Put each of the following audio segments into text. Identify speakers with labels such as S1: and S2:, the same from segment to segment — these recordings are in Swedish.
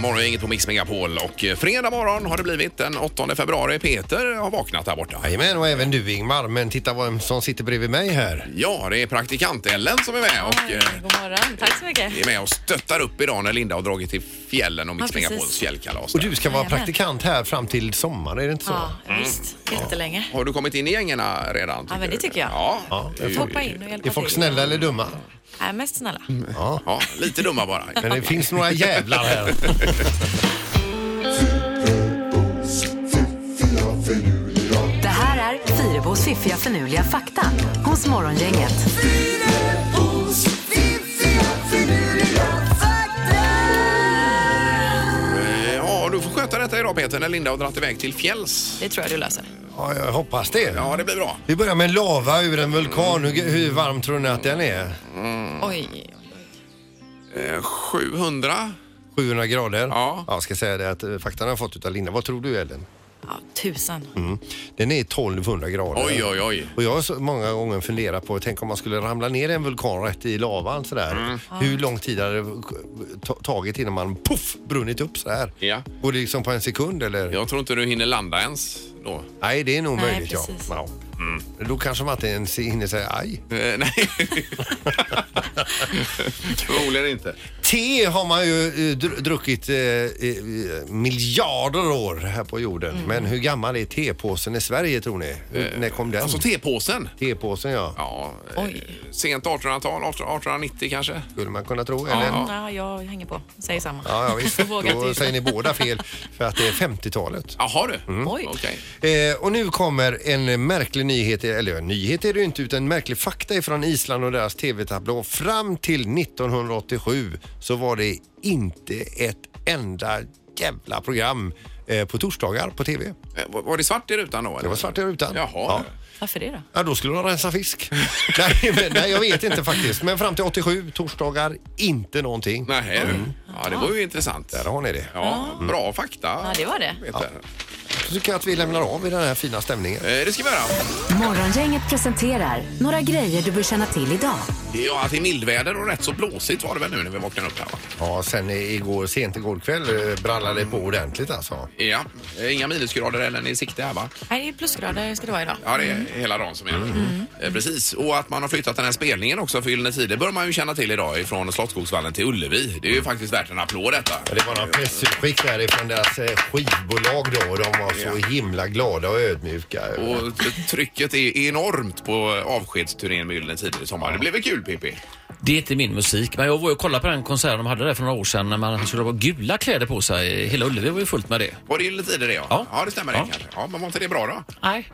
S1: morgongänget på Mix Megapol och eh, fredag morgon har det blivit den 8 februari. Peter har vaknat där borta.
S2: Jajamän, och även du Ingmar. Men titta vem som sitter bredvid mig här.
S1: Ja, det är praktikant-Ellen som är med och eh,
S3: God morgon, tack så mycket.
S1: är med och stöttar upp idag när Linda har dragit till fjällen och Mix
S3: Ja, precis.
S1: Megapols fjällkalas.
S2: Och du ska vara
S3: Jajamän.
S2: praktikant här fram till sommaren, är det inte så? Mm.
S3: Ja, visst. Jättelänge.
S1: Har du kommit in i gängerna redan?
S3: Ja, men
S1: du?
S3: det tycker jag.
S1: Ja,
S2: Ja,
S1: det är ju-
S3: Hoppa in och hjälpa
S2: Är folk
S3: till.
S2: snälla eller Mm. dumma?
S3: Nej, mest snälla.
S1: ja, lite dumma bara.
S2: Men det finns några jävlar här.
S4: Det här är Fyrabos fiffiga förnuliga fakta hos Morgongänget.
S1: Eh, Ja, du får sköta detta idag Peter när Linda har dragit iväg till fjälls.
S3: Det tror jag du löser.
S2: Ja, jag hoppas det.
S1: Ja, det blir bra.
S2: Vi börjar med lava ur en vulkan. Hur, hur varm tror ni att den är? Mm.
S3: Oj.
S1: Eh, 700?
S2: 700 grader?
S1: Ja.
S2: Jag ska säga det att eh, faktan har jag fått utav Linda. Vad tror du Ellen?
S3: Ja, tusan.
S2: Mm. Den är 1200 grader.
S1: Oj, oj, oj.
S2: Och jag har så många gånger funderat på, tänk om man skulle ramla ner i en vulkan rätt i lavan sådär.
S1: Mm.
S2: Hur lång tid hade det ta- tagit innan man puff brunnit upp så här?
S1: Ja.
S2: Går det liksom på en sekund eller?
S1: Jag tror inte du hinner landa ens då.
S2: Nej, det är nog
S3: Nej,
S2: möjligt ja.
S3: precis.
S2: ja.
S1: Mm.
S2: Då kanske man inte ens hinner säga aj.
S1: Eh, nej. Förmodligen inte.
S2: Te har man ju eh, dr- druckit eh, eh, miljarder år här på jorden.
S1: Mm.
S2: Men hur gammal är tepåsen i Sverige tror ni? Hur, när kom den?
S1: Alltså tepåsen.
S2: tepåsen ja.
S1: Ja,
S3: Oj.
S1: eh, sent 1800-tal, 1890 kanske.
S2: Skulle man kunna tro.
S1: Ja.
S2: Eller?
S3: Ja. jag hänger på. Säger samma.
S2: Ja, ja visst.
S3: Vågar
S2: Då
S3: inte.
S2: säger ni båda fel för att det är 50-talet.
S1: Jaha du.
S3: Oj.
S1: Okej.
S2: Eh, och nu kommer en märklig nyhet, eller ja, nyhet är det ju inte utan en märklig fakta ifrån Island och deras tv-tablå. Fram till 1987 så var det inte ett enda jävla program eh, på torsdagar på tv.
S1: Eh, Var var det svart i rutan då? Eller?
S2: Det var svart i rutan.
S1: Jaha.
S2: Ja.
S3: Varför det då?
S2: Ja, då skulle de rensa fisk. nej, men, nej, jag vet inte faktiskt. Men fram till 87, torsdagar, inte någonting.
S1: Nej, du. Ja, det var ju intressant.
S2: Där har ni det.
S1: Ja, bra fakta.
S3: Ja, det var det.
S1: Peter.
S2: Så tycker jag att vi lämnar av i den här fina stämningen.
S1: Eh, Det ska vi göra.
S4: Morgongänget presenterar några grejer du bör känna till idag.
S1: Ja, att det är mildväder och rätt så blåsigt var det väl nu när vi vaknade upp här va?
S2: Ja, sen i- igår, sent igår kväll eh, brallade det på ordentligt alltså.
S1: Ja, eh, inga minusgrader eller i sikte här va?
S3: Nej, det är plusgrader ska det vara idag.
S1: Ja, det är hela dagen som är.
S2: Mm.
S1: Eh, Precis, och att man har flyttat den här spelningen också för Gyllene Tider bör man ju känna till idag ifrån Slottsskogsvallen till Ullevi. Det är ju faktiskt värt en applåd detta.
S2: Mm. Ja, Det var några pressutskick därifrån deras eh, skivbolag då. De var så himla glada och ödmjuka.
S1: Och t- trycket är enormt på avskedsturnén med Gyllene Tider i sommar. Det blev väl kul Pippi?
S5: Det är inte min musik, men jag var ju och kollade på den konserten de hade där för några år sedan när man skulle ha gula kläder på sig. Hela Ullevi var ju fullt med det.
S1: Var det Gyllene Tider det ja?
S5: Ja.
S1: det stämmer
S5: Ja.
S1: det kanske. Ja, men var inte det bra då?
S5: Nej.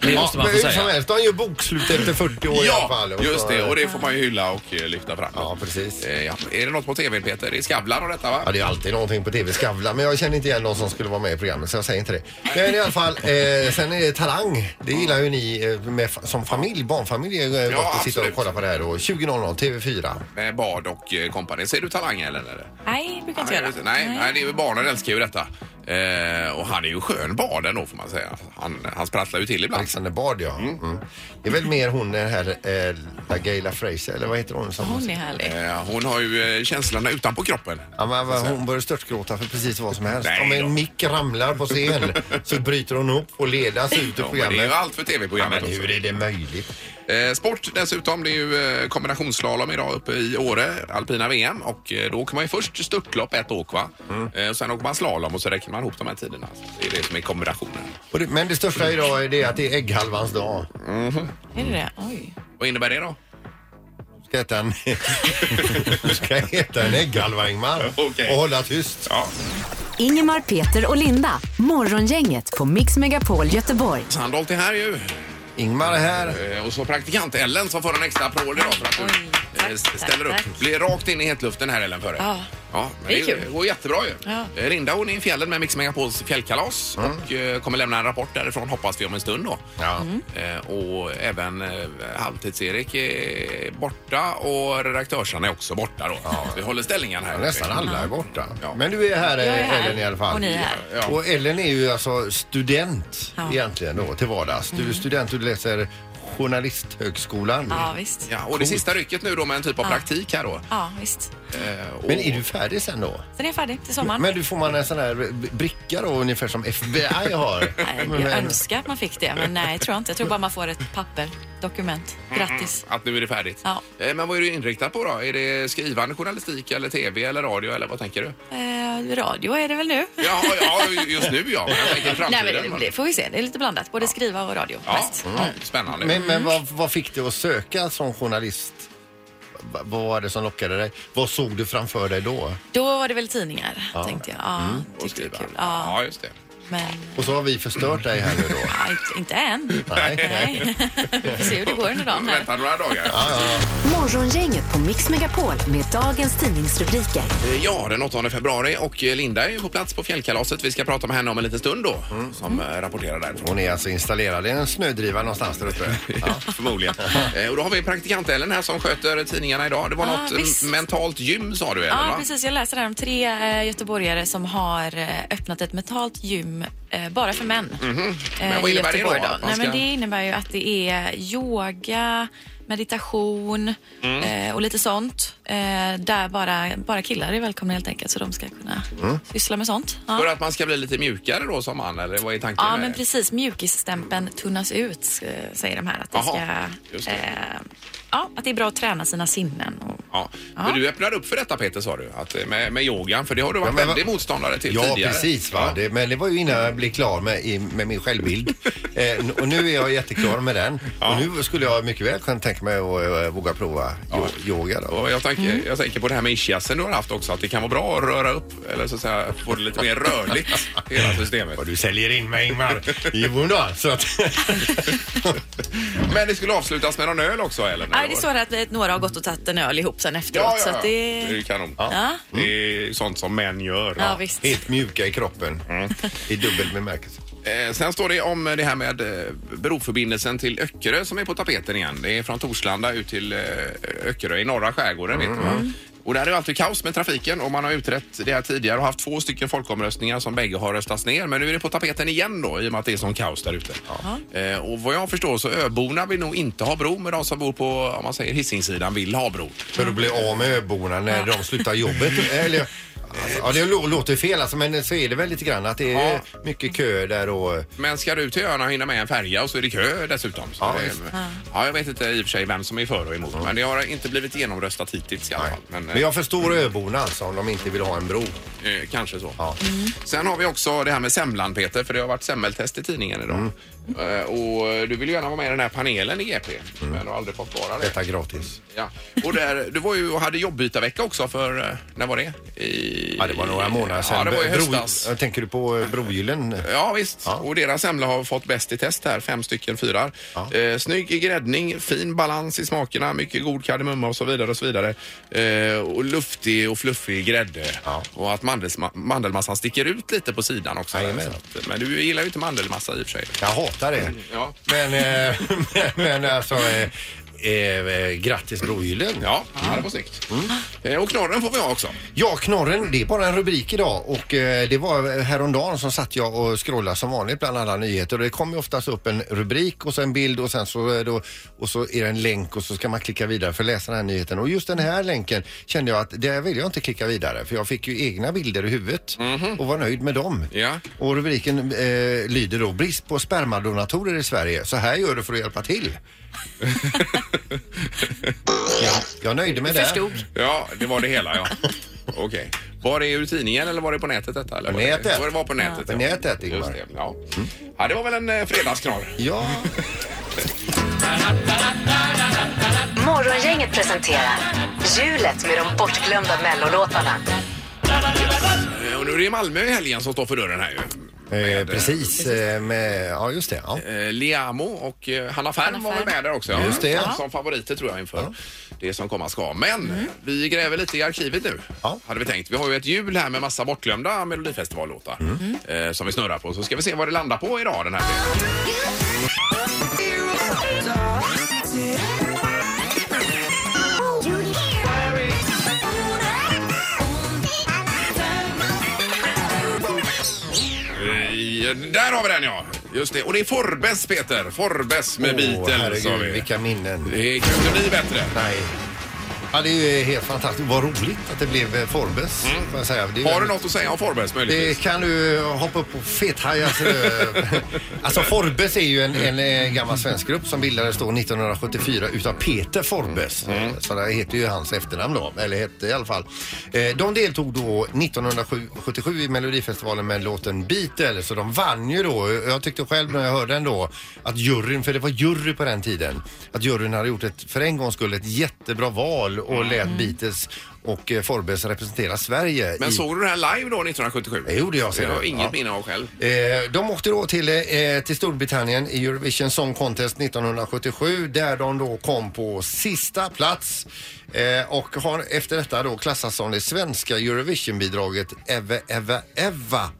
S5: det måste man
S2: men
S5: få
S2: hur som
S5: säga.
S2: helst, de gör bokslut efter 40 år i alla fall.
S1: Ja,
S2: Och
S1: just
S2: så-
S1: det. Och det får man ju hylla och eh, lyfta fram.
S2: Ja, precis.
S1: Eh, ja. Är det något på tv Peter? Det är Skavlan och detta va?
S2: Ja, det är alltid någonting på TV Skavlan, men jag känner inte igen någon som skulle vara med i programmet så jag säger inte det. Men i alla fall, eh, sen är det Talang. Det gillar ju ni eh, med, fa- som familj, barnfamilj, eh,
S1: Ja,
S2: ja, att sitta och
S1: absolut.
S2: kolla på det här då. 20.00 TV4.
S1: Med Bard och eh, kompani. Ser du Talang eller? eller?
S3: Nej, det brukar jag inte
S1: Nej,
S3: göra.
S1: nej, nej, det är ju barnen älskar ju detta. Eh, och han är ju skön Bard ändå får man säga. Han, han sprattlar ju till ibland.
S2: Alexander Bard ja. Mm. Det är väl mer hon den här eh, LaGaylia Fraser eller vad heter hon? Som
S3: Hon är härlig.
S1: Eh, hon har ju eh, känslorna utanför kroppen.
S2: Ja, men vad- hon börjar störtgråta för precis vad som helst.
S1: Nej
S2: Om
S1: då.
S2: en mick ramlar på scen så bryter hon upp och ledas ut ur
S1: Ja, men det är ju alltså.
S2: programmet.
S1: allt för tv-programmet
S2: Men
S1: också.
S2: hur är det möjligt?
S1: Eh, sport dessutom, det är ju eh, kombinationsslalom idag uppe i Åre, alpina VM. Och eh, då åker man ju först störtlopp, ett åk va?
S2: Mm.
S1: Eh, och sen åker man slalom och så räknar man ihop de här tiderna. Det är det som är kombinationen.
S2: Och det, men det största idag är det att det är ägghalvans dag.
S3: Är det det? Oj.
S1: Vad innebär det då?
S2: Ska äta en, ska äta en ägghalva Ingmar
S1: Okej.
S2: och hålla tyst.
S1: Ja,
S4: Ingemar, Peter och Linda. Morgongänget på Mix Megapol Göteborg.
S1: Sandholt är här ju.
S2: Ingmar är här.
S1: Eh, Och så praktikant Ellen som får en extra applåd idag för att du
S3: Oj,
S1: eh,
S3: tack,
S1: s-
S3: tack,
S1: ställer upp.
S3: tack.
S1: Blir rakt in i hetluften här Ellen för dig.
S3: Ja.
S1: Ja, men
S3: Det är
S1: det,
S3: kul.
S1: går jättebra ju.
S3: Ja.
S1: Eh, Rinda hon är i fjällen med Mix Megapols fjällkalas
S2: Mm.
S1: och eh, kommer lämna en rapport därifrån hoppas vi om en stund då.
S2: Ja.
S1: Eh, Och även eh, Halvtids-Erik är borta och redaktörsarna är också borta då. Så vi håller ställningen här.
S2: Nästan alla är borta.
S1: Ja.
S2: Men du är här,
S3: Jag är här.
S2: Ellen i alla fall.
S3: Och ni är här.
S1: Ja.
S2: Och Ellen är ju alltså student
S3: Ja. Mm.
S2: egentligen då till vardags. Du är student och du läser Journalisthögskolan.
S3: Ja, visst.
S1: Ja, och det sista rycket nu då med en typ av praktik här då.
S3: Ja, visst.
S1: Eh, och-
S2: Men är du färdig sen då?
S3: Sen är jag färdig till sommaren.
S2: Men du får man en sån här b- bricka då, ungefär som FBI har?
S3: Nej,
S2: Men-
S3: jag önskar att man fick det, men nej, tror jag inte. Jag tror bara man får ett papper, dokument. Grattis.
S1: Att nu är det färdigt.
S3: Ja.
S1: Eh, Men vad är du inriktad på då? Är det skrivande journalistik eller tv eller radio eller vad tänker du?
S3: Eh, radio är det väl nu?
S1: Ja, ja just nu ja. Men jag tänker i framtiden.
S3: Nej, men det, det får vi se. Det är Mm. lite blandat, både skriva och radio.
S1: Ja, Mm.
S3: mest.
S1: ja, spännande.
S2: Men, men vad, vad fick du att söka som journalist? Va- Vad var det som lockade dig? Vad såg du framför dig då?
S3: Då var det väl tidningar, tänkte jag. Ja,
S1: Mm, Och
S3: tyckte det var
S1: skriva.
S3: kul. Ja,
S1: Ja, just det.
S3: men
S2: Och så har vi förstört dig här nu då.
S3: ja, inte, inte än.
S2: Nej, nej.
S3: Nej. vi får se hur det går under dagen här.
S1: Vänta några dagar.
S4: Morgongänget på Mix Megapol med dagens tidningsrubriker.
S1: Eh, Ja, den 8 februari och eh, Linda är ju på plats på fjällkalaset. Vi ska prata med henne om en liten stund då, som eh, rapporterar därifrån.
S2: Hon är alltså installerad i en snödriva någonstans där uppe.
S1: Förmodligen. Eh, och då har vi praktikant Ellen här som sköter tidningarna idag. Det var
S3: Ah,
S1: något eh,
S3: visst.
S1: mentalt gym sa du Ellen
S3: Ja,
S1: va?
S3: precis. Jag läser här om tre eh, göteborgare som har eh, öppnat ett mentalt gym eh, bara för män. eh,
S1: Mhm. Men vad
S3: i
S1: innebär det då?
S3: Göteborg
S1: Att man
S3: Nej, men
S1: ska-
S3: det innebär ju att det är yoga, meditation
S1: Mm.
S3: eh, och lite sånt. Eh, där bara, bara killar är välkomna helt enkelt så de ska kunna
S1: Mm.
S3: syssla med sånt. Ja.
S1: För att man ska bli lite mjukare då som man, eller vad är tanken?
S3: Ja,
S1: med-
S3: men precis. Mjukisstämpeln tunnas ut, eh, säger de här. Att det, ska,
S1: Jaha, just det.
S3: Eh, ja, att det är bra att träna sina sinnen. Och,
S1: Ja. Men du öppnade upp för detta Peter sa du, att eh, med, med yogan, för det har du varit
S2: men vad-
S1: väldigt motståndare till
S2: Ja,
S1: tidigare.
S2: precis. Va? Det, men det var ju innan jag blev klar med, i- med min självbild. eh, n- och nu är jag jätteklar med den. Och nu skulle jag mycket väl kunna tänka mig att eh, våga prova yo- yoga. Då.
S1: Och jag, tänker,
S3: Mm.
S1: jag tänker på det här med ischiasen du har haft också, att det kan vara bra att röra upp eller så att säga få det lite mer rörligt, hela systemet.
S2: Vad du säljer in mig Ingmar. Jo då, så att...
S1: Men det skulle avslutas med någon öl också eller?
S3: Nej, det står här att eh, några har gått och tagit en öl ihop sen efteråt.
S1: Ja, ja,
S3: Så
S1: ja.
S3: att
S1: det
S3: det...
S1: är ju kanon.
S3: Ja.
S1: Det är sånt som män gör.
S3: Ja, visst.
S2: Helt mjuka i kroppen. I dubbel bemärkelse.
S1: Eh, sen står det om det här med eh, broförbindelsen till Öckerö som är på tapeten igen. Det är från Torslanda ut till eh, Öckerö i norra skärgården. Vet du, va? Och där är det alltid kaos med trafiken och man har utrett det här tidigare och haft två stycken folkomröstningar som bägge har röstats ner. Men nu är det på tapeten igen då i och med att det är sån kaos där ute. Eh, och vad jag förstår så öborna vill nog inte ha bro men de som bor på, om man säger Hisingssidan vill ha bro.
S2: För att bli av med öborna när de slutar jobbet. Eller, alltså, ja, det lå- låter fel alltså, men så är det väl lite grann att det är
S1: Ja.
S2: mycket kö där och...
S1: Men ska du till öarna och hinna med en färja och så är det kö dessutom. Så
S2: Ja,
S1: det,
S2: visst.
S1: ja, jag vet inte i och för sig vem som är för och emot men det har inte blivit genomröstat hittills i alla fall. Men,
S2: Men eh. jag förstår öborna alltså om de inte vill ha en bro.
S1: eh, kanske så.
S2: Ja.
S1: Sen har vi också det här med semlan Peter för det har varit semmeltest i tidningen idag.
S2: Mm.
S1: Eh, och du vill ju gärna vara med i den här panelen i GP men du har aldrig fått vara det.
S2: Detta gratis.
S1: Ja. Och där, du var ju och hade jobbytarvecka också för, eh, när var det? I,
S2: Ja, det var några månader sedan.
S1: Ja, det var i
S2: Bro-
S1: höstas.
S2: Jag tänker du på eh, Brogyllen?
S1: Ja visst,
S2: Ja.
S1: och deras semla har fått bäst i test här, fem stycken fyrar.
S2: Ja.
S1: Eh, snygg i gräddning, fin balans i smakerna, mycket god kardemumma och så vidare och så vidare. Eh, och luftig och fluffig grädde.
S2: Ja.
S1: Och att mandelsma- mandelmassan sticker ut lite på sidan också.
S2: Jajamän.
S1: Så att- men du gillar ju inte mandelmassa i och för sig.
S2: Jag hatar det.
S1: Ja.
S2: Men, eh, men alltså, eh, eh, grattis Brogyllen.
S1: Ja, ja det var snyggt.
S2: Mm.
S1: Eh, och knorren får vi ha också.
S2: Ja, knorren, det är bara en rubrik idag och eh, det var häromdagen som satt jag och scrollade som vanligt bland alla nyheter och det kommer ju oftast upp en rubrik och sen en bild och sen så, är det- och så är det en länk och så ska man klicka vidare för att läsa den här nyheten och just den här länken kände jag att där vill jag inte klicka vidare för jag fick ju egna bilder i huvudet och var nöjd med dem.
S1: Ja.
S2: Och rubriken eh, lyder då brist på spermadonatorer i Sverige. Så här gör du för att hjälpa till. ja, jag nöjde mig där.
S3: Förstod.
S1: Ja, det var det hela ja. Okej. Var det ur tidningen eller var det på nätet detta? Eller
S2: På
S1: var det-
S2: nätet.
S1: Var det var på nätet.
S2: På nätet, Ingmar. Mm.
S1: Just det, ja. ja, det var väl en eh, fredagsknorr.
S2: Ja.
S4: Morgongänget presenterar Hjulet med de bortglömda mellolåtarna.
S1: Eh, Och nu är det Malmö i helgen som står för dörren här ju.
S2: Eh,
S1: Med,
S2: precis, eh, med, ja just det. Ja.
S1: eh, Liamo och eh, Hanna Färm var väl med där också.
S2: Just det.
S1: Som, som favoriter tror jag inför det som komma ska. Men vi gräver lite i arkivet nu.
S2: Ja.
S1: Hade vi tänkt. Vi har ju ett hjul här med massa bortglömda Melodifestivallåtar.
S2: Mm.
S1: Eh, som vi snurrar på. Så ska vi se vad det landar på idag den här veckan.
S6: Uh,
S1: Eh, Där har vi den ja! Just det. Och det är Forbes Peter. Forbes med
S2: Åh,
S1: Beatles sa
S2: herregud,
S1: vi.
S2: vilka minnen.
S1: Det kunde bli bättre.
S2: Nej. Ja, det är ju helt fantastiskt. Vad roligt att det blev eh, Forbes. får jag säga. Det är ju-
S1: Mm. Har du något att säga om Forbes möjligtvis?
S2: Det kan du hoppa upp på fethajas. eh. alltså Forbes är ju en, en eh, gammal svensk grupp som bildades då 1974 utav Peter Forbes.
S1: Mm.
S2: Eh, Så det heter ju hans efternamn då, eller hette i alla fall. Eh, De deltog då 1977 i Melodifestivalen med låten Beatles så de vann ju då. Jag tyckte själv när jag hörde den då att juryn, för det var jury på den tiden, att juryn hade gjort ett, för en gångs skull, ett jättebra val och lät Beatles och eh, Forbes representera Sverige.
S1: Mm. Men
S2: i...
S1: såg du det här live då 1977?
S2: Det gjorde jag, ser
S1: Jag har
S2: du.
S1: inget
S2: Ja.
S1: minne av själv.
S2: Eh, de åkte då till, eh, till Storbritannien i Eurovision Song Contest 1977 där de då kom på sista plats eh, och har efter detta då klassats som det svenska Eurovision-bidraget Eva Eva Eva.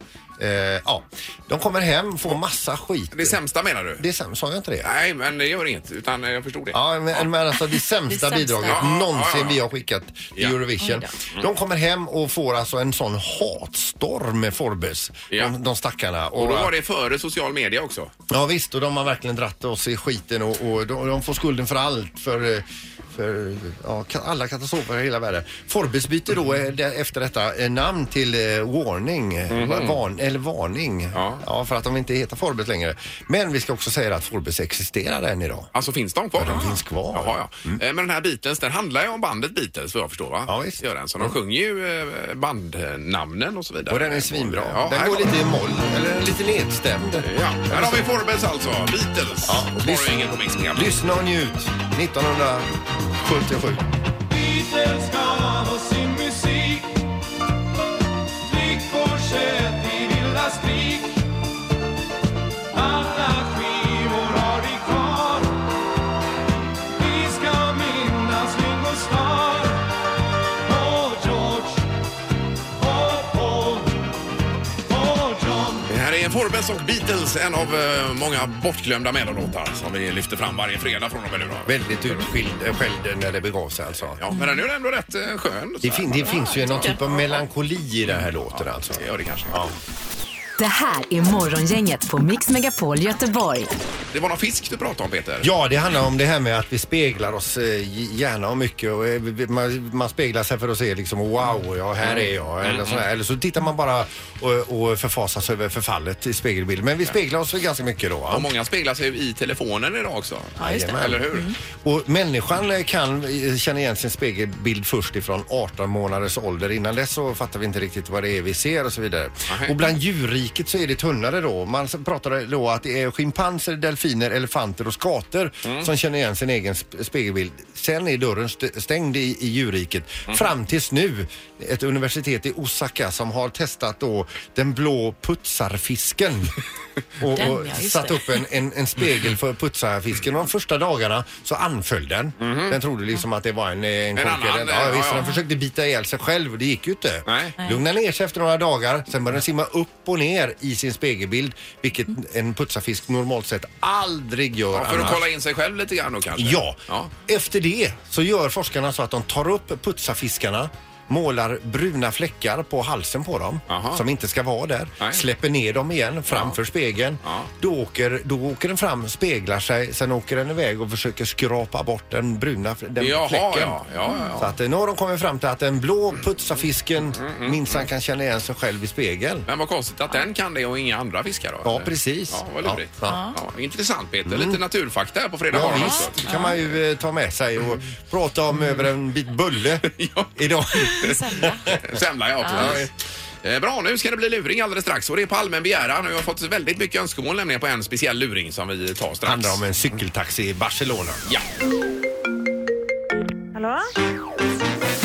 S2: Eh, ja. De kommer hem, får massa skit.
S1: Det sämsta menar du?
S2: Det är sämst, sa jag inte det?
S1: Nej, men det gör inget. Utan eh, jag förstod det.
S2: Ja, men, men alltså det sämsta
S3: Det sämsta.
S2: bidraget
S1: Ja, ja,
S2: någonsin
S1: ja.
S2: vi har skickat till
S1: Ja.
S2: Eurovision.
S3: Oj
S2: De kommer hem och får alltså en sån hatstorm med Forbes,
S1: Ja.
S2: de, de stackarna.
S1: Och då var det före social media också.
S2: Ja visst, och de har verkligen dratt oss i skiten och, och de, de får skulden för allt. För, eh, för eh, ja, ka- alla katastrofer i hela världen. Forbes byter då eh, där- efter detta eh, namn till eh, Warning. Va- Varn, eller Varning.
S1: Mhm. Ja.
S2: för att de inte heter Forbes längre. Men vi ska också säga att Forbes existerar än idag.
S1: Alltså finns de kvar?
S2: Ja, de finns kvar. Mm.
S1: Jaha, ja. Eh, Men den här Beatles, den handlar ju om bandet Beatles vad jag förstår va?
S2: Ja, visst. Mm.
S1: Gör den. Så de sjunger ju eh, bandnamnen och så vidare.
S2: Och den är svinbra.
S1: Ja,
S2: den
S1: här
S2: går
S1: kom-
S2: lite i moll, eller lite nedstämd.
S1: Ja, här har vi Forbes alltså. Beatles. Ja,
S2: lyssna.
S1: Morgongänget på Mix Megapol.
S2: Lyssna och njut. 1977.
S7: Oh, oh.
S1: Det här är Forbes och Beatles, en av eh, många bortglömda mellolåtar som vi lyfter fram varje fredag från och med nu. då.
S2: Väldigt utskild, eh, skälld när det begav sig alltså.
S1: Ja, men den är ju ändå rätt eh, skön. så
S2: Det,
S1: här.
S2: fin- det finns ju någon
S3: tycker
S2: typ av melankoli i den här låten alltså.
S1: Ja, det kanske.
S4: Det här är Morgongänget på Mix Megapol Göteborg.
S1: Det var någon fisk du pratade om Peter.
S2: Ja, det handlar om det här med att vi speglar oss eh, gärna och mycket. Och eh, vi- man, man speglar sig för att se liksom wow, ja här är jag. Eller, så, eller så tittar man bara och, och förfasas över förfallet i spegelbilden. Men vi speglar oss ganska mycket då. va?
S1: Och många speglar sig ju i telefonen idag också.
S2: Ja, just det. Mm.
S1: Eller hur?
S2: Och människan eh, kan eh, känna igen sin spegelbild först ifrån 18 månaders ålder. Innan dess så fattar vi inte riktigt vad det är vi ser och så vidare.
S1: Nej.
S2: Och bland djurriket så är det tunnare då. Man pratar då att det är schimpanser, delfiner, elefanter och skator som känner igen sin egen sp- spegelbild. Sen är dörren st- stängd i, i djurriket. Fram tills nu, ett universitet i Osaka som har testat då den blå putsarfisken. och,
S3: Den,
S2: och
S3: ja, just
S2: satt
S3: det.
S2: upp en, en, en spegel för att putsa fisken. De första dagarna så anföll den. Den trodde liksom att det var en, eh, en konkurrent.
S1: Mhm. annan,
S2: Ja,
S1: ja,
S2: visst,
S1: ja.
S2: Den försökte bita ihjäl sig själv och det gick ju inte.
S1: Nej.
S3: Nej.
S2: Lugna ner sig efter några dagar. Sen började den simma upp och ner i sin spegelbild. Vilket en putsarfisk normalt sett aldrig gör
S1: Ja, för att
S2: annars.
S1: kolla in sig själv lite grann då kanske?
S2: Ja.
S1: ja.
S2: Efter det så gör forskarna så att de tar upp putsarfiskarna målar bruna fläckar på halsen på dem
S1: Aha.
S2: som inte ska vara där.
S1: Nej.
S2: Släpper ner dem igen framför spegeln.
S1: Ja.
S2: Då, åker, då åker den fram, speglar sig, sen åker den iväg och försöker skrapa bort den bruna f- den
S1: Jaha,
S2: fläcken.
S1: ja, ja, ja.
S2: Så att eh, nu har de kommit fram till att den blå
S1: Mm,
S2: putsarfisken minsann kan känna igen sig själv i spegeln.
S1: Men vad konstigt att den kan det och inga andra fiskar då.
S2: Ja,
S1: eller?
S2: precis.
S1: Ja, vad lurigt. Ja,
S2: Ja, Mm.
S1: intressant Peter. Lite naturfakta här på fredag
S2: Ja,
S1: morgon också.
S2: visst, det kan man ju eh, ta med sig och prata om över en bit bulle
S1: Ja.
S2: idag.
S3: Sämja.
S1: Semla ja, precis. Eh, Bra, nu ska det bli luring alldeles strax och det är på allmän begäran. Vi har fått väldigt mycket önskemål nämligen på en speciell luring som vi tar strax.
S2: handlar om en cykeltaxi i Barcelona.
S1: Ja,
S6: Hallå?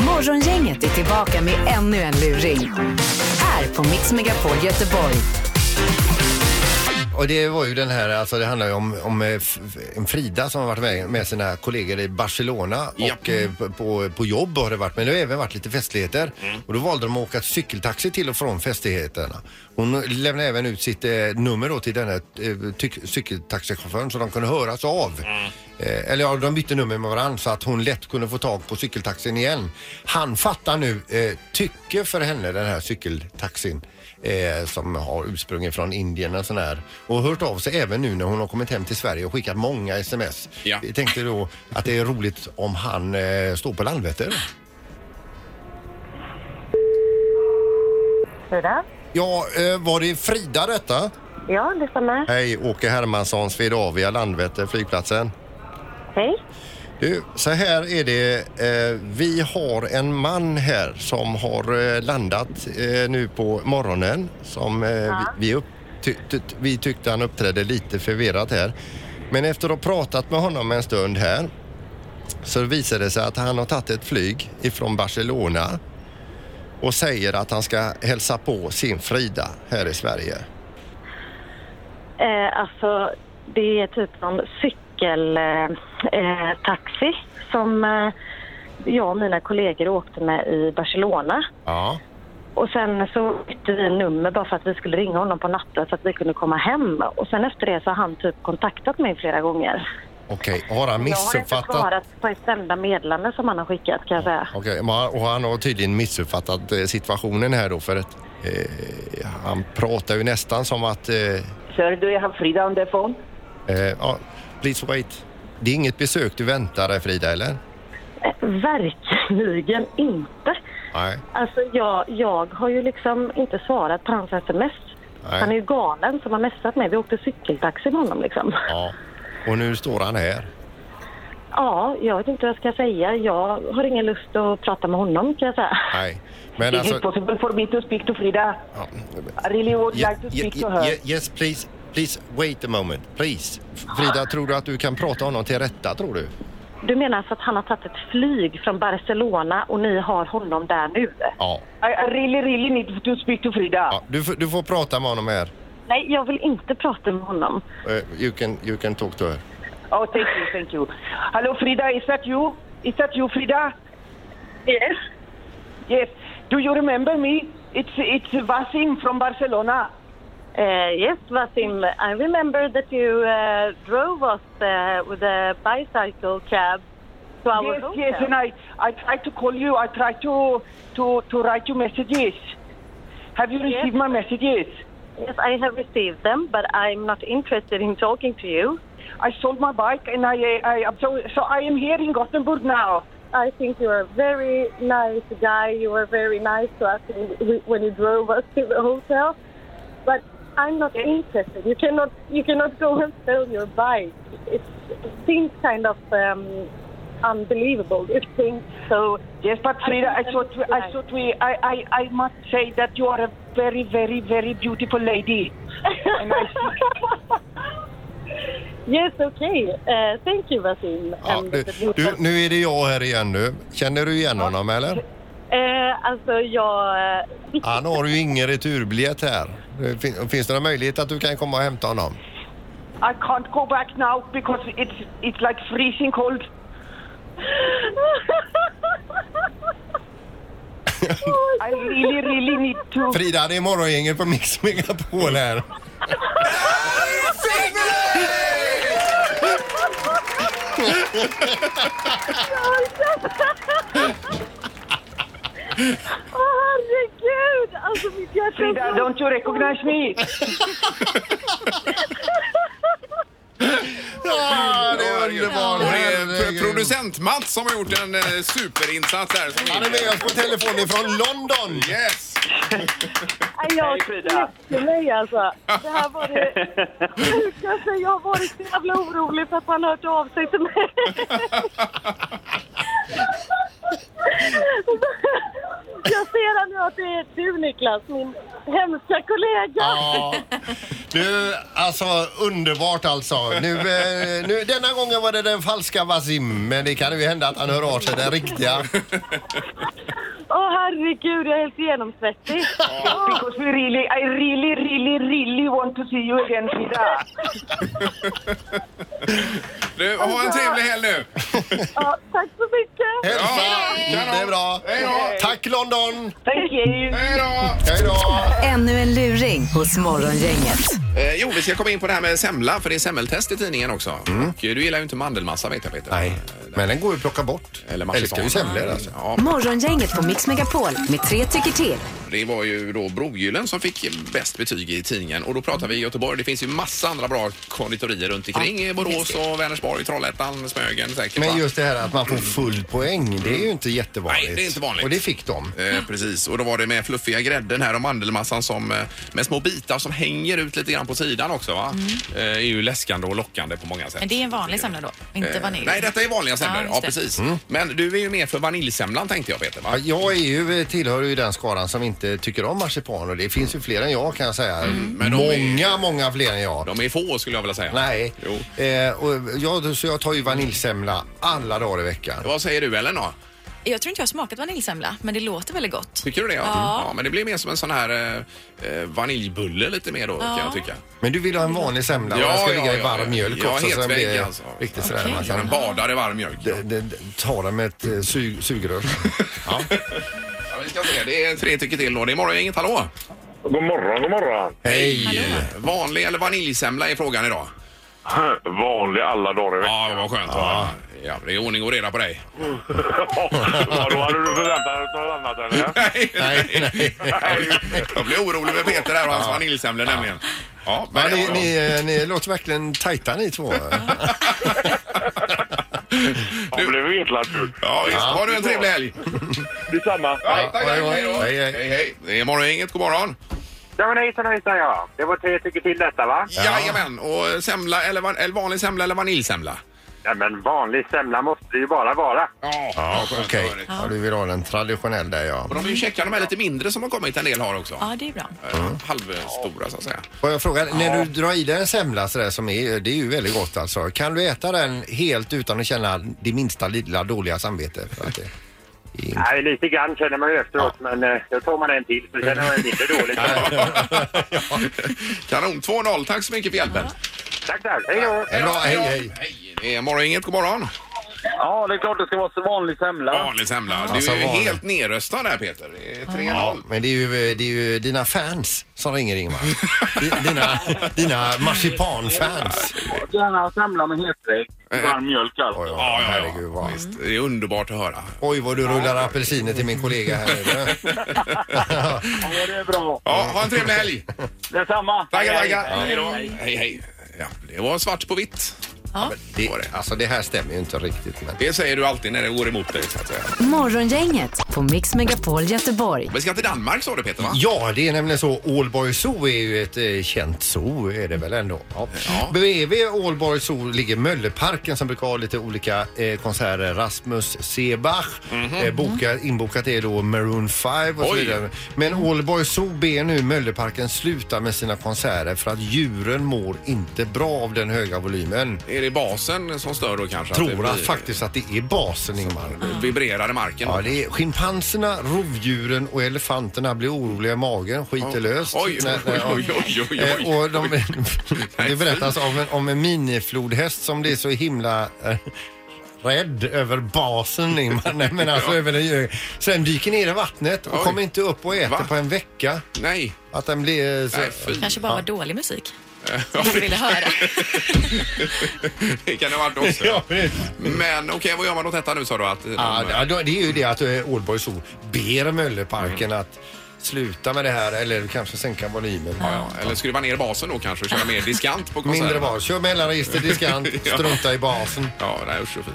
S4: Morgongänget är tillbaka med ännu en luring. Här på Mix Megapol Göteborg.
S2: Och det var ju den här, alltså det handlar ju om, om eh, f- en Frida som har varit med, med sina kollegor i Barcelona
S1: Ja.
S2: och eh, p- på, på jobb har det varit, men det har även varit lite festligheter.
S1: Mm.
S2: Och då valde de att åka cykeltaxi till och från festligheterna. Hon lämnade även ut sitt eh, nummer då till den här eh, ty- cykeltaxichauffören så de kunde höras av.
S1: Mm.
S2: Eh, eller ja, de bytte nummer med varandra så att hon lätt kunde få tag på cykeltaxin igen. Han fattar nu eh, tycke för henne, den här cykeltaxin. eh, som har ursprung från Indien och sån här. Och hört av sig även nu när hon har kommit hem till Sverige och skickat många sms.
S1: Ja.
S2: Vi tänkte då att det är roligt om han eh, står på Landvetter.
S6: Frida?
S2: Ja, eh, var det Frida detta?
S6: Ja, det stämmer.
S2: Hej, Åke Hermansson, Swedavia, Landvetter, flygplatsen.
S6: Hej.
S2: Du, så här är det. Eh, vi har en man här som har eh, landat eh, nu på morgonen. Som eh, vi, vi, upp, ty, ty, vi tyckte han uppträdde lite förvirrat här. Men efter att ha pratat med honom en stund här så visade det sig att han har tagit ett flyg ifrån Barcelona och säger att han ska hälsa på sin Frida här i Sverige.
S6: Eh, alltså, det är typ någon cykeltaxi eh, taxi som eh, jag och mina kollegor åkte med i Barcelona.
S2: Ja.
S6: Och sen så bytte vi nummer bara för att vi skulle ringa honom på natten så att vi kunde komma hem. Och sen efter det så har han typ kontaktat mig flera gånger.
S2: Okej, har han
S6: Jag har inte
S2: missuppfattat?
S6: svarat på ett enda meddelande som han har skickat kan jag säga.
S2: Okej, men han- och han har tydligen missuppfattat eh, situationen här då för att eh, han pratar ju nästan som att eh,
S7: Sir, do you have Frida on the phone?
S2: eh, ja, please wait. Det är inget besök du väntar dig Frida eller?
S6: Eh, Verkligen inte.
S2: Nej.
S6: Alltså jag, jag har ju liksom inte svarat på hans sms.
S2: Nej.
S6: Han är ju galen som har messat mig. Vi åkte cykeltaxi med honom liksom.
S2: Ja. Och nu står han här.
S6: Ja, jag vet inte vad jag ska säga. Jag har ingen lust att prata med honom kan jag säga.
S2: Nej. Men
S7: Is
S2: alltså...
S7: it possible for me to speak to Frida?
S2: Ja.
S7: I really would
S2: Ye-
S7: like to
S2: ye-
S7: speak to
S2: ye-
S7: her.
S2: yes please, please wait a moment, please. Frida, tror du att du kan prata honom till rätta tror du?
S6: Du menar alltså att han har tagit ett flyg från Barcelona och ni har honom där nu?
S2: Ja.
S7: I, I really, really need to speak to Frida.
S2: ja. Du, får- du får prata med honom här.
S6: Nej, jag vill inte prata med honom.
S2: Eh, you, can, you can talk to her.
S7: Oh, thank you, thank you. Hello, Frida, is that you? Is that you, Frida?
S6: Yes.
S7: Yes. Do you remember me? It's it's Vasim from Barcelona.
S6: Uh, yes, Vasim. I remember that you uh, drove us uh, with a bicycle cab to our
S7: yes,
S6: hotel.
S7: yes, and I, I tried to call you. I tried to to to write you messages. Have you
S6: Yes.
S7: received my messages?
S6: Yes, I have received them, but I'm not interested in talking to you.
S7: I sold my bike and I I am so so I am here in Gothenburg now.
S6: I think you're a very nice guy. You were very nice to us when- when you drove us to the hotel, but I'm not interested. You cannot, you cannot go and sell your bike. It, it seems kind of um, unbelievable. It seems so.
S7: Yes, but Frida, I
S6: think that
S7: thought
S6: is
S7: I
S6: right.
S7: thought we I, I I must say that you are a very very very beautiful lady. and I
S6: Yes, okay. Uh, thank you, Vasim.
S2: Ja,
S6: And
S2: du,
S6: the people.
S2: du, nu är det jag här igen nu. Känner du igen honom eller?
S6: Eh, alltså, jag...
S2: Han har ju ingen returbiljett här. Det fin- Finns det någon möjlighet att du kan komma och hämta honom?
S7: I can't go back now because it's it's like freezing cold. I really, really need to.
S2: Frida, det är morgongänget på Mix Megapol här.
S6: Åh, herregud! Alltså, mitt hjärta...
S7: Frida, don't you recognize me?
S2: Ja, det är
S1: Och
S2: underbart.
S1: det är
S2: Herregud.
S1: producent-Mats som har gjort en eh, superinsats här. som
S2: Han är med oss på telefon ifrån London.
S1: Yes!
S6: Nej, jag
S7: Hej, Frida.
S6: knäckte mig alltså. Det här var det sjukaste. Jag har varit så jävla orolig för att han hört av sig till mig. Jag ser här nu att det är du Niklas, min hemska kollega.
S2: Ja. Du, alltså underbart alltså. Nu, eh, nu, denna gången var det den falska Wasim, men det kan ju hända att han hör av sig den riktiga.
S6: Åh herregud, jag är helt genomsvettig.
S7: Because we really, I really, really, really want to see you again, Frida.
S1: Du, ha en trevlig helg nu!
S6: Ja, tack så mycket.
S2: Hälsa! Det är bra.
S1: Hej
S2: Tack London!
S7: Thank you.
S1: Hej då!
S2: Hej då!
S4: Ännu en luring hos Morgongänget.
S1: Eh, jo, vi ska komma in på det här med semla, för det är semmeltest i tidningen också. Och, eh, du gillar ju inte mandelmassa vet jag Peter.
S2: Mm. Nej, men den går ju att plocka bort.
S1: Eller
S2: Älskar
S1: marsipan.
S2: ju semlor alltså.
S1: Ja.
S4: Morgongänget på Mix Megapol med tre tycker till.
S1: Det var ju då Brogyllen som fick bäst betyg i tidningen och då pratar vi Göteborg. Det finns ju massa andra bra konditorier runt omkring i Borås och Vänersborg, Trollhättan, Smögen säkert. va?
S2: Men just det här att man får full poäng, det är ju inte jättevanligt.
S1: Nej, det är inte vanligt.
S2: Och det fick de.
S1: Eh, precis, och då var det med fluffiga grädden här och mandelmassan som, eh, med små bitar som hänger ut lite grann på sidan också. Va?
S2: Mm.
S1: Eh, är ju läskande och lockande på många sätt.
S3: Men det är en vanlig semla då, inte vanilj?
S1: Eh, Nej, detta är vanliga semlor. Ja,
S3: just det.
S1: precis.
S2: Mm.
S1: Men du är ju mer för vaniljsemlan tänkte jag Peter.
S2: Ja,
S1: Va?
S2: Jag är ju, tillhör ju den skaran som inte tycker om marsipan och det finns ju fler än jag kan jag säga.
S1: Mm. men de är-
S2: många, många fler än jag.
S1: De är få skulle jag vilja säga.
S2: Nej.
S1: Jo.
S2: Eh, och jag, så jag tar ju vaniljsemla alla dagar i veckan.
S1: Vad säger du Ellen då?
S3: Jag tror inte jag har smakat vaniljsemla, men det låter väldigt gott.
S1: Tycker du det? Ja.
S3: Ja.
S1: men det blir mer som en sån här eh, eh, vaniljbulle lite mer då kan
S3: Ja.
S1: jag tycka.
S2: Men du vill ha en vanlig semla och
S1: Ja,
S2: den ska
S1: ja,
S2: ligga i
S1: ja,
S2: varm
S1: ja.
S2: mjölk
S1: Ja,
S2: också.
S1: helt
S2: den
S1: väg,
S2: blir
S1: alltså.
S2: Riktigt sådär. Man
S1: Ja, den
S2: kan
S1: badar i varm mjölk.
S2: d- d- ta den med ett eh, su- sugrör.
S1: Ja, vi ska se. Det är tre tycker till då. Det är morgon, inget hallå.
S8: God morgon, god morgon.
S2: Hej!
S1: Eh, Vanlig eller vaniljsemla är frågan idag.
S8: Vanlig alla dagar i veckan.
S1: Ja, vad skönt. Ja. ja, det är ordning och reda på dig.
S8: Ja, då hade du förväntat dig något annat eller?
S1: Nej,
S2: Nej, nej.
S1: Jag blir orolig med Peter här och hans vaniljsemlor nämligen. Ja,
S2: Ja,
S1: men
S2: ni, ni, eh, ni låter verkligen tajta ni två.
S8: Jag blev vetlad nu.
S1: Ja, visst. Ha nu en trevlig helg.
S8: Detsamma.
S1: Ja, tack,
S2: hej
S1: tack,
S2: då.
S1: hej då.
S2: Hej,
S1: Hej,
S2: hej.
S1: hej. Det är morgongänget. God morgon.
S8: Ja, men hejsan hejsan ja. Det var tre tycker till detta va?
S1: Jajamän. Och semla eller, van, eller vanlig semla eller vaniljsemla?
S8: Ja, men vanlig semla måste det ju bara vara.
S1: Ja,
S2: Ja,
S1: skönt att
S2: okej.
S1: höra det. Mm.
S2: Ja, du vill ha den traditionell där ja.
S1: Och de är ju käcka, de här lite mindre som har kommit. En del har också.
S3: Ja, det är bra.
S1: Eh, Halvstora så att säga.
S2: Får jag fråga, när du drar i dig en semla sådär som är, det är ju väldigt gott alltså. Kan du äta den helt utan att känna det minsta lilla dåliga samvete? För att det är inte-
S8: Nej, lite grann känner man ju efteråt, men eh, då tar man en till så känner man lite dåligt.
S1: Kanon. 2-0. Tack så mycket för hjälpen.
S8: tack, tack. Hej då!
S2: Hej då, hej hej.
S1: Hej, det är morgongänget. God morgon.
S7: Ja, det är klart det ska vara så vanlig semla.
S1: Vanlig semla. Du
S2: Alltså,
S1: är ju
S2: vanlig.
S1: helt nedröstad här Peter. Det är 3-0.
S2: Men det är, ju, det är ju dina fans som ringer Ingmar. Di- Dina, dina marsipanfans.
S7: Gärna semla med hetvägg. Varm mjölk
S2: Oj,
S7: alltså.
S2: oj,
S1: Ja, ja, ja.
S2: herregud vad.
S1: Visst, det är underbart att höra.
S2: Oj vad du rullar apelsiner till min kollega här nu.
S7: Ja, det är bra.
S1: Ja, ha en trevlig helg!
S7: Detsamma.
S1: Tackar,
S7: Hej, hej.
S1: tackar! Hej då! Hej, hej! Ja, det var svart på vitt.
S2: Det, alltså det här stämmer ju inte riktigt men.
S1: Det säger du alltid när det går emot dig. Så att säga.
S4: Morgongänget på Mix Megapol Göteborg.
S1: Vi ska till Danmark sa du Peter va?
S2: Ja, det är nämligen så. Ålborg Zoo är ju ett eh, känt zoo, är det väl ändå? Ja. Bredvid Ålborg Zoo ligger Mölleparken som brukar ha lite olika eh, konserter. Rasmus Sebach, eh, boka, inbokat är då Maroon 5 och så
S1: Oj.
S2: vidare. Men Ålborg Zoo ber nu Mölleparken sluta med sina konserter för att djuren mår inte bra av den höga volymen.
S1: Är det basen som stör då kanske? att det
S2: Tror
S1: blir-
S2: att faktiskt att det är basen, Ingmar.
S1: Vibrerar i marken?
S2: Ja, det är schimpanserna, rovdjuren och elefanterna blir oroliga i magen, skiter löst.
S1: Oj,
S2: Nej, nej,
S1: oj,
S2: ja.
S1: oj, oj, oj, oj.
S2: Eh, Och de,
S1: Nej,
S2: det berättas om en, om en miniflodhäst som blir så himla eh, rädd över basen. Ingmar. Nej, men alltså, över den, sen dyker ner i vattnet och
S1: Oj.
S2: kommer inte upp och äter
S1: Va?
S2: på en vecka.
S1: Nej.
S2: Att den blir... eh, Så,
S1: Nej, fy.
S3: Kanske bara var dålig musik. Som du ville höra.
S1: Det kan det ha varit också.
S2: Ja, det-
S1: Men okej, vad gör man åt detta nu sa du? Att,
S2: Ja, det- ja, då- det är ju det att eh, Ålborg Zoo ber Mölleparken att sluta med det här eller kanske sänka volymen.
S1: ja, eller skruva ner basen då kanske och köra mer diskant på konserten?
S2: Mindre bas. Kör mellanregister, diskant,
S1: Ja.
S2: strunta i basen.
S1: Ja, nej, usch och fy.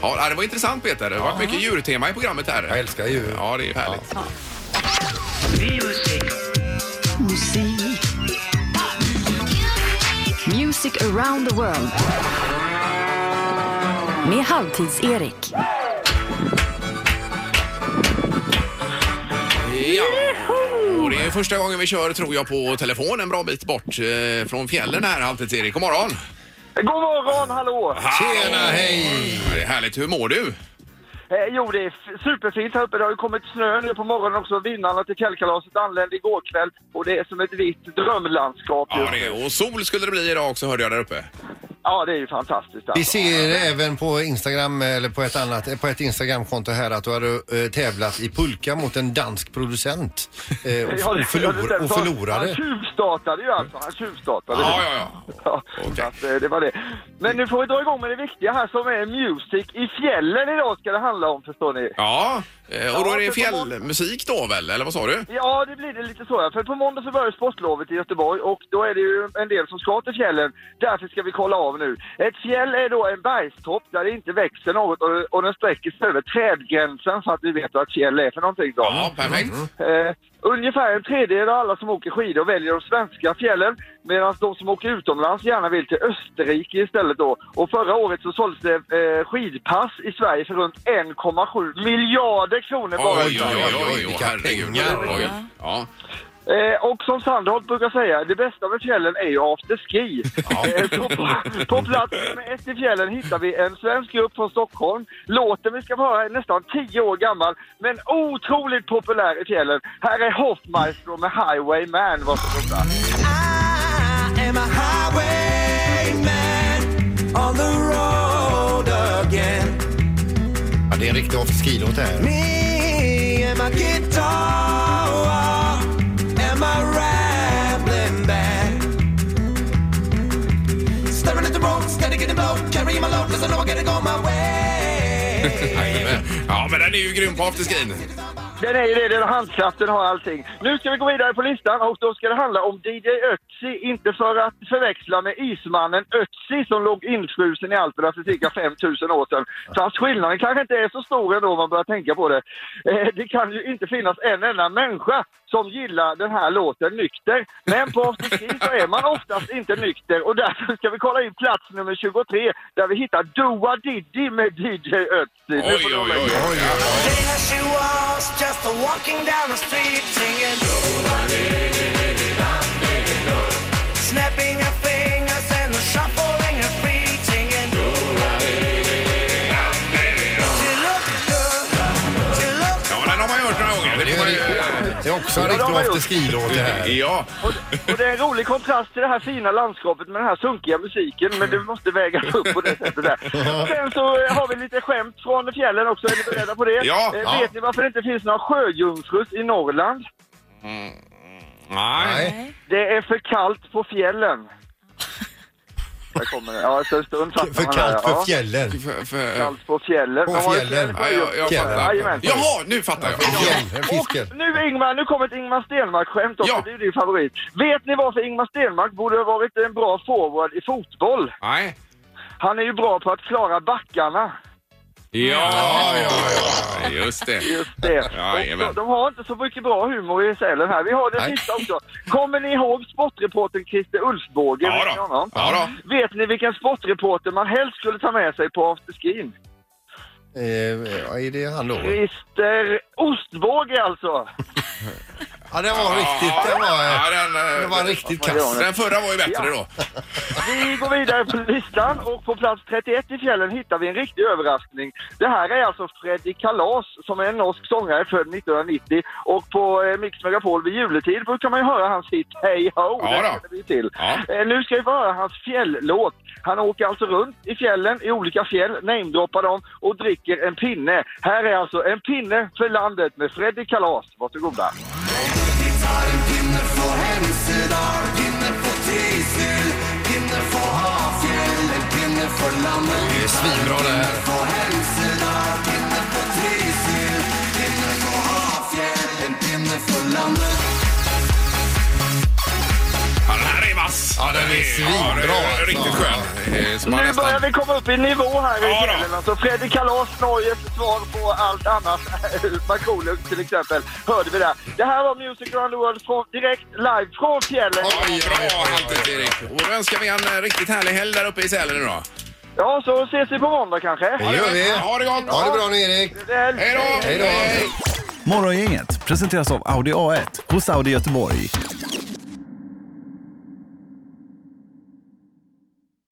S1: Ja, det var intressant Peter. Det har varit mycket djurtema i programmet här.
S2: Jag älskar djur.
S1: Ja, det är ju härligt.
S4: Music around the world. Med Halvtids-Erik.
S1: Ja. Och det är första gången vi kör, tror jag, på telefon en bra bit bort eh, från fjällen här, alltid Erik. God morgon!
S7: God morgon, hallå!
S1: Tjena, hej! Det är härligt. Hur mår du?
S7: Eh, jo, det är f- superfint här uppe. Det har ju kommit snö nu på morgonen också. Vinnarna till fjällkalaset anlände igår kväll och det är som ett vitt drömlandskap
S1: Ja,
S7: just
S1: det
S7: nu.
S1: är, och sol skulle det bli idag också, hörde jag där uppe.
S7: Ja, det är ju fantastiskt.
S2: Vi
S7: Alltså.
S2: ser även på Instagram eller på ett annat, på ett Instagramkonto här att du hade eh, tävlat i pulka mot en dansk producent eh, och,
S7: Ja, det-
S2: och, förlor, och
S7: Han
S2: förlorade.
S7: tjuvstartade ju alltså. Han tjuvstartade.
S1: Ja, ja, ja.
S7: Ja, så att, eh, det var det. Men nu får vi dra igång med det viktiga här som är Music i fjällen idag ska det handla om förstår ni.
S1: Ja, eh, och då är det
S7: Ja, för på-
S1: fjällmusik då väl, eller vad sa du?
S7: Ja, det blir det lite så. Ja. För på måndag så börjar sportlovet i Göteborg och då är det ju en del som ska till fjällen. Därför ska vi kolla av nu. Ett fjäll är då en bergstopp där det inte växer något och, och den sträcker sig över trädgränsen så att vi vet vad ett fjäll är för någonting. Då.
S1: Ja, perfekt.
S7: Eh, ungefär en tredjedel av alla som åker skidor väljer de svenska fjällen medan de som åker utomlands gärna vill till Österrike istället då. Och förra året så såldes det eh, skidpass i Sverige för runt 1,7 miljarder kronor bara.
S1: Oj, oj, oj, oj, oj,
S2: Vilka
S1: herregud.
S2: pengar.
S1: Oj. Ja.
S7: Eh, och som Sandholt brukar säga, det bästa med fjällen är ju afterski. Eh, så på, på plats nummer ett i fjällen hittar vi en svensk grupp från Stockholm. Låten vi ska få höra är nästan tio år gammal, men otroligt populär i fjällen. Här är Hoffmaestro med Highway Man. Varsågoda.
S2: Ja, det är en riktig afterski-låt det här.
S1: Jajamän. ja, men den är ju grym på afterskin.
S7: Den är ju det, den har handkraften har allting. Nu ska vi gå vidare på listan och då ska det handla om DJ Ötzi, inte för att förväxla med ismannen Ötzi som låg infrusen i Alperna för cirka 5000 år sedan. Fast skillnaden kanske inte är så stor ändå om man börjar tänka på det. Eh, det kan ju inte finnas en enda människa som gillar den här låten nykter. Men på afterski så är man oftast inte nykter och därför ska vi kolla in plats nummer 23 där vi hittar Dua Diddy med DJ Ötzi. Nu
S1: Oj, oj,
S7: får du
S1: oj.
S7: vara
S1: oj, oj. Ja, den har man hört några gånger. Det
S2: Det
S1: får
S2: är,
S1: man
S2: en
S1: ju...
S2: riktig- det är också en
S7: Ja, det har
S2: riktig
S7: man gjort.
S2: afterski-låt det här.
S1: Ja,
S7: Och, och det är en rolig kontrast till det här fina landskapet med den här sunkiga musiken, men
S1: Mm.
S7: det måste vägas upp på det sättet där. Sen så eh, har vi lite skämt från fjällen också, är ni beredda på det?
S1: Ja,
S7: Eh,
S1: ja.
S7: Vet ni varför det inte finns några sjöjungfrus i Norrland?
S1: nej.
S2: Nej.
S7: Det är för kallt på fjällen. Där kommer det. Ja, efter en stund fattar
S2: För
S7: man det här,
S2: kallt för
S7: ja.
S2: fjällen.
S1: För, för...
S7: Kallt på fjällen.
S2: På
S7: Man har ju
S2: fjällen.
S7: fjäll-
S1: Ja, jag, jag
S2: Fjällen.
S1: fattar.
S7: Jajamän.
S1: Jaha, nu fattar jag. Ja.
S2: Fjällen,
S7: Och
S2: fisken.
S7: nu Ingmar, nu kommer ett Ingmar Stenmark-skämt också,
S1: Ja.
S7: det är ju din favorit. Vet ni varför Ingmar Stenmark borde ha varit en bra forward i fotboll?
S1: Nej.
S7: Han är ju bra på att klara backarna.
S1: Ja, ja, ja. Just det.
S7: Just det.
S1: Ja, jajamän.
S7: och de har inte så mycket bra humor i Sälen här. Vi har den
S2: Nej.
S7: sista också. Kommer ni ihåg sportreportern Christer Ulfsbåge?
S1: Ja
S7: Vet ni
S1: då.
S7: honom?
S1: Ja
S7: Vet ni vilken sportreporter man helst skulle ta med sig på afterskin?
S2: Eh, ja, är det han då?
S7: Christer Ostbåge alltså!
S2: Ja, det var riktigt. Det var, eh,
S1: Ja, den, eh,
S2: det var riktigt
S7: Vad gör
S2: kass.
S7: ni?
S1: Den förra var ju bättre då.
S7: Vi går vidare på listan och på plats 31 i fjällen hittar vi en riktig överraskning. Det här är alltså Freddy Kalas som är en norsk sångare född 1990 och på eh, Mix Megapol vid juletid brukar man ju höra hans hit Hey Ho.
S1: Ja
S7: den
S1: då.
S7: känner vi till.
S1: Ja.
S7: Eh, Nu ska vi få höra hans fjälllåt. Han åker alltså runt i fjällen, i olika fjäll, namedroppar dem och dricker en pinne. Här är alltså en pinne för landet med Freddy Kalas. Varsågoda.
S2: Det är svinbra det här.
S1: Ja, den här är vass.
S2: Ja, den är
S1: Ja, den
S2: svinbra,
S1: är Riktigt
S2: alltså.
S1: skön. Eh, som man
S7: Nu börjar
S1: nästan-
S7: vi komma upp i nivå här i
S1: Ja då.
S7: fjällen. Alltså Freddy Kalas, Norges svar på allt annat. Markoolio till exempel, hörde vi där. Det här var Music Around the World från, direkt live från fjällen.
S1: Oj, bra alltid Erik. Och då önskar vi en eh, riktigt härlig helg där uppe i Sälen nu då.
S7: Ja, så ses vi på måndag kanske.
S2: Det gör vi.
S1: Ha det gott!
S2: Ha det bra nu, Erik.
S1: Hej då!
S2: Hej då.
S9: Morgongänget presenteras av Audi A1 hos Audi Göteborg.